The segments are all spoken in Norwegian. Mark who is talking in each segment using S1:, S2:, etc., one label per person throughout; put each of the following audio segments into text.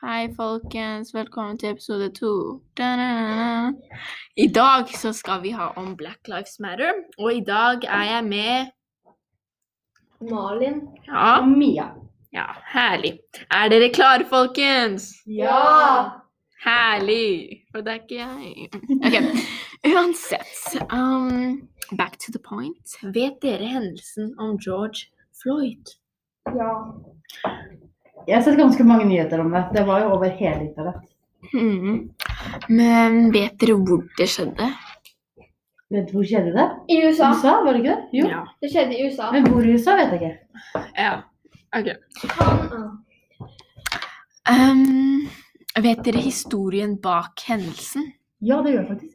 S1: Hei, folkens. Velkommen til episode to. Da-da-da-da. I dag så skal vi ha om Black Lives Matter, og i dag er jeg med
S2: Malin
S1: Ja,
S2: og Mia.
S1: ja herlig. Er dere klare, folkens?
S2: Ja!
S1: Herlig! For det er ikke jeg. Ok, Uansett. Um, back to the point. Vet dere hendelsen om George Floyd?
S2: ja. Jeg har sett ganske mange nyheter om det. Det var jo over hele internett.
S1: Mhm. Men vet dere hvor det skjedde?
S2: Vet du hvor skjedde det?
S3: I USA.
S2: USA, var det ikke det? Jo.
S1: Ja.
S3: Det skjedde i USA.
S2: Men hvor i USA vet jeg ikke.
S1: ja. Ok.
S3: Han,
S1: Ehm, vet dere historien bak hendelsen?
S2: Ja, det gjør jeg faktisk.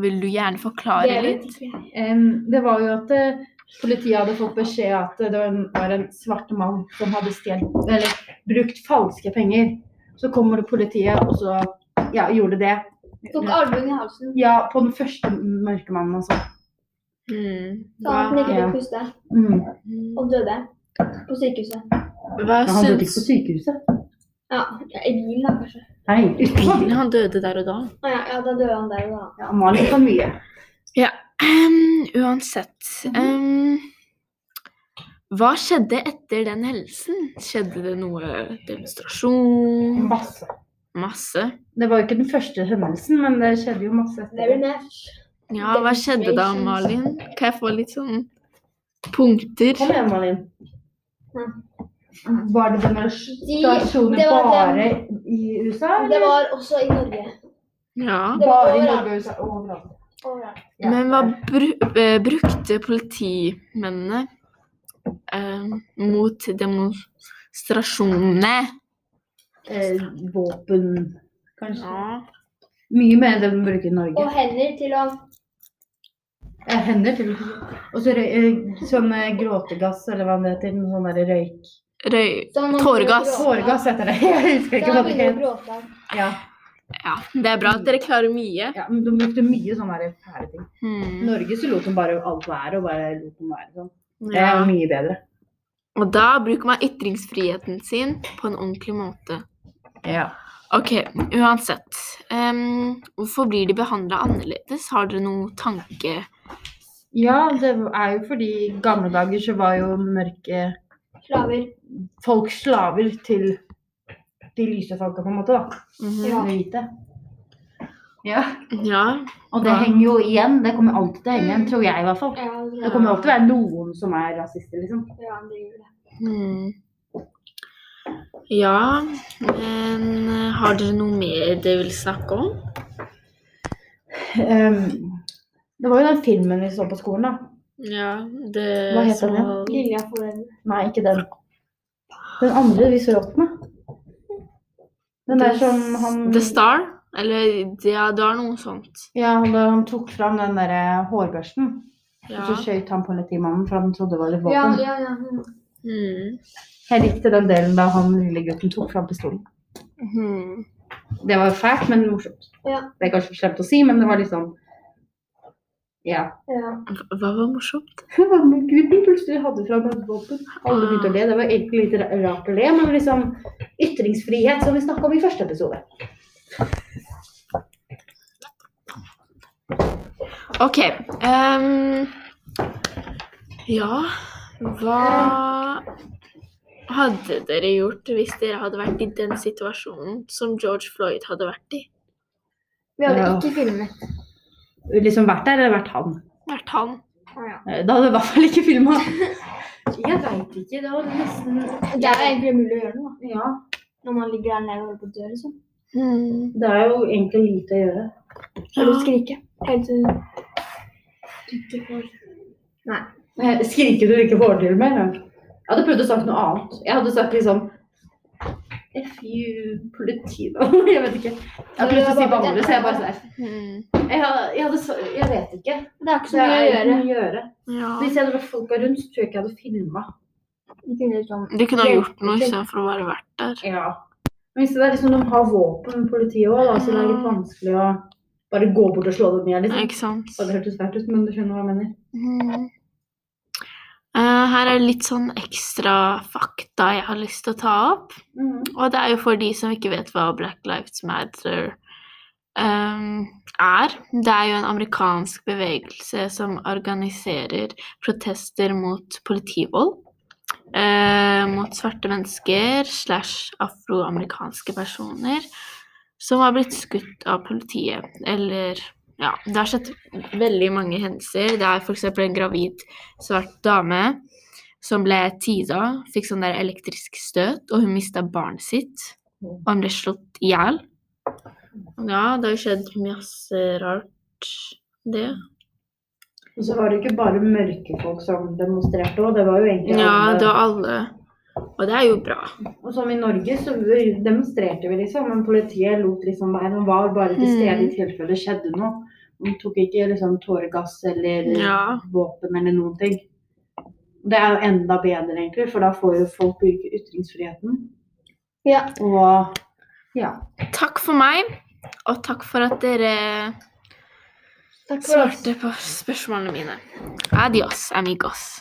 S1: Vil du gjerne
S3: det
S1: forklare
S3: vet
S1: litt?
S3: ikke jeg.
S2: Em, det var jo at eh, politiet hadde fått beskjed at det var en, var en svart mann som hadde stjålet Eller brukt falske penger. Så kommer det politiet, og så ja, gjorde det.
S3: Tok albuen i halsen
S2: Ja, på den første mørke mannen, altså.
S1: Mm.
S3: så han
S1: Hva,
S3: ikke
S2: Ja.
S3: fikk puste,
S2: Mm.
S1: mm,
S3: og døde på sykehuset.
S1: hva
S2: Men han døde ikke på
S1: syns
S2: sykehuset.
S3: Ja, ja, I bilen, da, kanskje.
S2: Nei,
S1: Bilen, han døde der og da.
S3: Å ja, ja, da døde han der og da.
S2: Ja, Malin kan mye.
S1: Ehm, uansett ehm, Hva skjedde etter den hendelsen? Skjedde det noe demonstrasjon?
S2: Masse.
S1: Masse?
S2: Det var jo ikke den første hendelsen, men det skjedde jo masse.
S3: Never
S2: etter det.
S3: Nash.
S1: Ja, hva skjedde da,
S3: Demonstrations.
S1: Malin? Kan jeg få litt sånn punkter?
S2: Kom igjen, Malin. Var det demonstrasjoner
S3: De- det var
S2: bare i USA?
S3: Det var også i Norge.
S1: Ja.
S3: det var
S2: bare i
S3: overalt.
S2: Norge og USA? Overalt.
S3: Overalt.
S2: Ja.
S1: Men hva bru eh, brukte politimennene eh, mot demonstrasjonene?
S2: Eh, våpen, kanskje.
S1: Ja.
S2: Mye mer enn det de bruker i Norge.
S3: Og hender til å
S2: Eh, hender til Og så røy- eh, sånn eh, gråtegass, eller hva det heter. Noe sånn der røyk.
S1: Røy
S3: så man
S1: Tåregass.
S3: begynner å gråte.
S2: Tåregass heter det. Jeg husker
S3: Da
S2: ikke hva det
S3: begynner å
S2: het.
S3: gråte.
S2: Ja.
S1: ja, det er bra at dere klarer mye.
S2: ja, men de brukte mye sånne der fæle ting. I
S1: Hmm.
S2: Norge så lot de bare alt være, og bare lot dem være sånn. Det
S1: Ja.
S2: er mye bedre.
S1: Og da bruker man ytringsfriheten sin på en ordentlig måte.
S2: Ja.
S1: Ok, uansett. Em, hvorfor blir de behandla annerledes? Har dere noen tanke?
S2: Ja, det er jo fordi i gamle dager så var jo mørke
S3: Slaver.
S2: folk slaver til de lyse folka, på en måte. da.
S1: Mhm.
S3: Ja.
S2: Eller hvite. Ja.
S1: Ja.
S2: Og det
S1: Ja.
S2: henger jo igjen. Det kommer alltid til å henge igjen, tror jeg i hvert fall.
S3: Ja,
S2: Det kommer alltid til å være noen som er rasister, liksom.
S3: ja, han driver det.
S1: Hmm. Ja, men eh, har dere noe mer dere vil snakke om?
S2: Ehm, det var jo den filmen vi så på skolen, da.
S1: Ja, det
S2: Hva heter den igjen?
S1: som-
S3: Lilja forever.
S2: Nei, ikke den. Den andre vi så opp med. Den der
S1: The-
S2: som han
S1: The Star? Eller ja, det var noe sånt.
S2: Ja, han, han tok fram den derre hårbørsten.
S1: Ja.
S2: Og så skjøt han politimannen, for han trodde det var litt våpen.
S3: Ja, ja, ja. mm.
S1: Mm.
S2: Jeg likte den delen da han lille gutten tok fram pistolen.
S1: Mhm.
S2: Det var fælt, men morsomt.
S3: Ja.
S2: Det er kanskje slemt å si, men det var litt sånn Ja.
S3: ja.
S1: Hva var morsomt?
S2: Men Gud, vi plutselig hadde fra meg et våpen. Alle begynte å le. Det var egentlig litt ra- rart å le, men liksom ytringsfrihet, som vi snakka om i første episode.
S1: OK. ehm, ja, hva hadde dere gjort hvis dere hadde vært i den situasjonen som George Floyd hadde vært i?
S3: Vi hadde
S2: Ja.
S3: ikke filmet.
S2: Liksom vært der, eller vært han.
S1: Vært han?
S3: Å, ja.
S2: Eh, Da hadde jeg i hvert fall ikke filma. Jeg veit ikke. Det var nesten
S3: Det er egentlig umulig å gjøre noe da.
S2: Ja.
S3: når man ligger der nede og holder på å dø, liksom.
S1: Mm.
S2: Det er jo egentlig lite å gjøre.
S3: Eller skrike. Helt eh, til du ikke får Nei.
S2: Eh, Skriker du ikke får til mer? da? Jeg hadde prøvd å sagt noe annet. Jeg hadde sagt liksom F you politiet Jeg vet ikke. Jeg hadde lyst til å si bamble, så jeg bare sånn F.
S1: Mm.
S2: Jeg, hadde- jeg, hadde, så- jeg vet ikke.
S3: Det er ikke så
S2: Det
S3: mye å
S2: er ikke
S3: gjøre.
S2: noe å gjøre.
S1: Ja.
S2: Hvis jeg hadde vært folka rundt, så tror jeg ikke jeg hadde filma.
S3: Du kunne sånn
S1: De kunne ha gjort noe
S3: Hjelpe til.
S1: istedenfor å bare vært der.
S2: Ja. Men hvis det er liksom, de har våpen, politiet òg, så det er litt vanskelig å bare gå bort og slå dem i hjel. Liksom.
S1: Ikke sant?
S2: Det hørtes fælt ut, men du skjønner hva jeg mener.
S1: Mm. Eh, her er litt sånn ekstra fakta jeg har lyst til å ta opp.
S2: Mhm.
S1: Og det er jo for de som ikke vet hva Black Lives Matter ehm, er. Det er jo en amerikansk bevegelse som organiserer protester mot politivold. eh, mot svarte mennesker slash afroamerikanske personer som har blitt skutt av politiet. Eller ja, det har skjedd veldig mange hendelser. Det er f.eks. en gravid svart dame som ble tida, fikk sånn der elektrisk støt, og hun mista barnet sitt. Og han ble slått i hjel. Ja, det har jo skjedd masse rart, det.
S2: Og så var det ikke bare mørke folk som demonstrerte òg, det var jo egentlig
S1: Ja,
S2: alle.
S1: det var alle. Og det er jo bra.
S2: Og som i Norge så demonstrerte vi liksom, men politiet lot liksom være. De var bare til stede i
S1: Mm.
S2: tilfelle det skjedde noe. De tok ikke liksom tåregass eller
S1: Ja.
S2: våpen eller noen ting. Det er jo enda bedre, egentlig, for da får jo folk bruke ytringsfriheten.
S3: Ja.
S2: Og ja.
S1: Takk for meg, og takk for at dere
S3: Takk for oss.
S1: svarte på spørsmålene mine. Adios, amigos.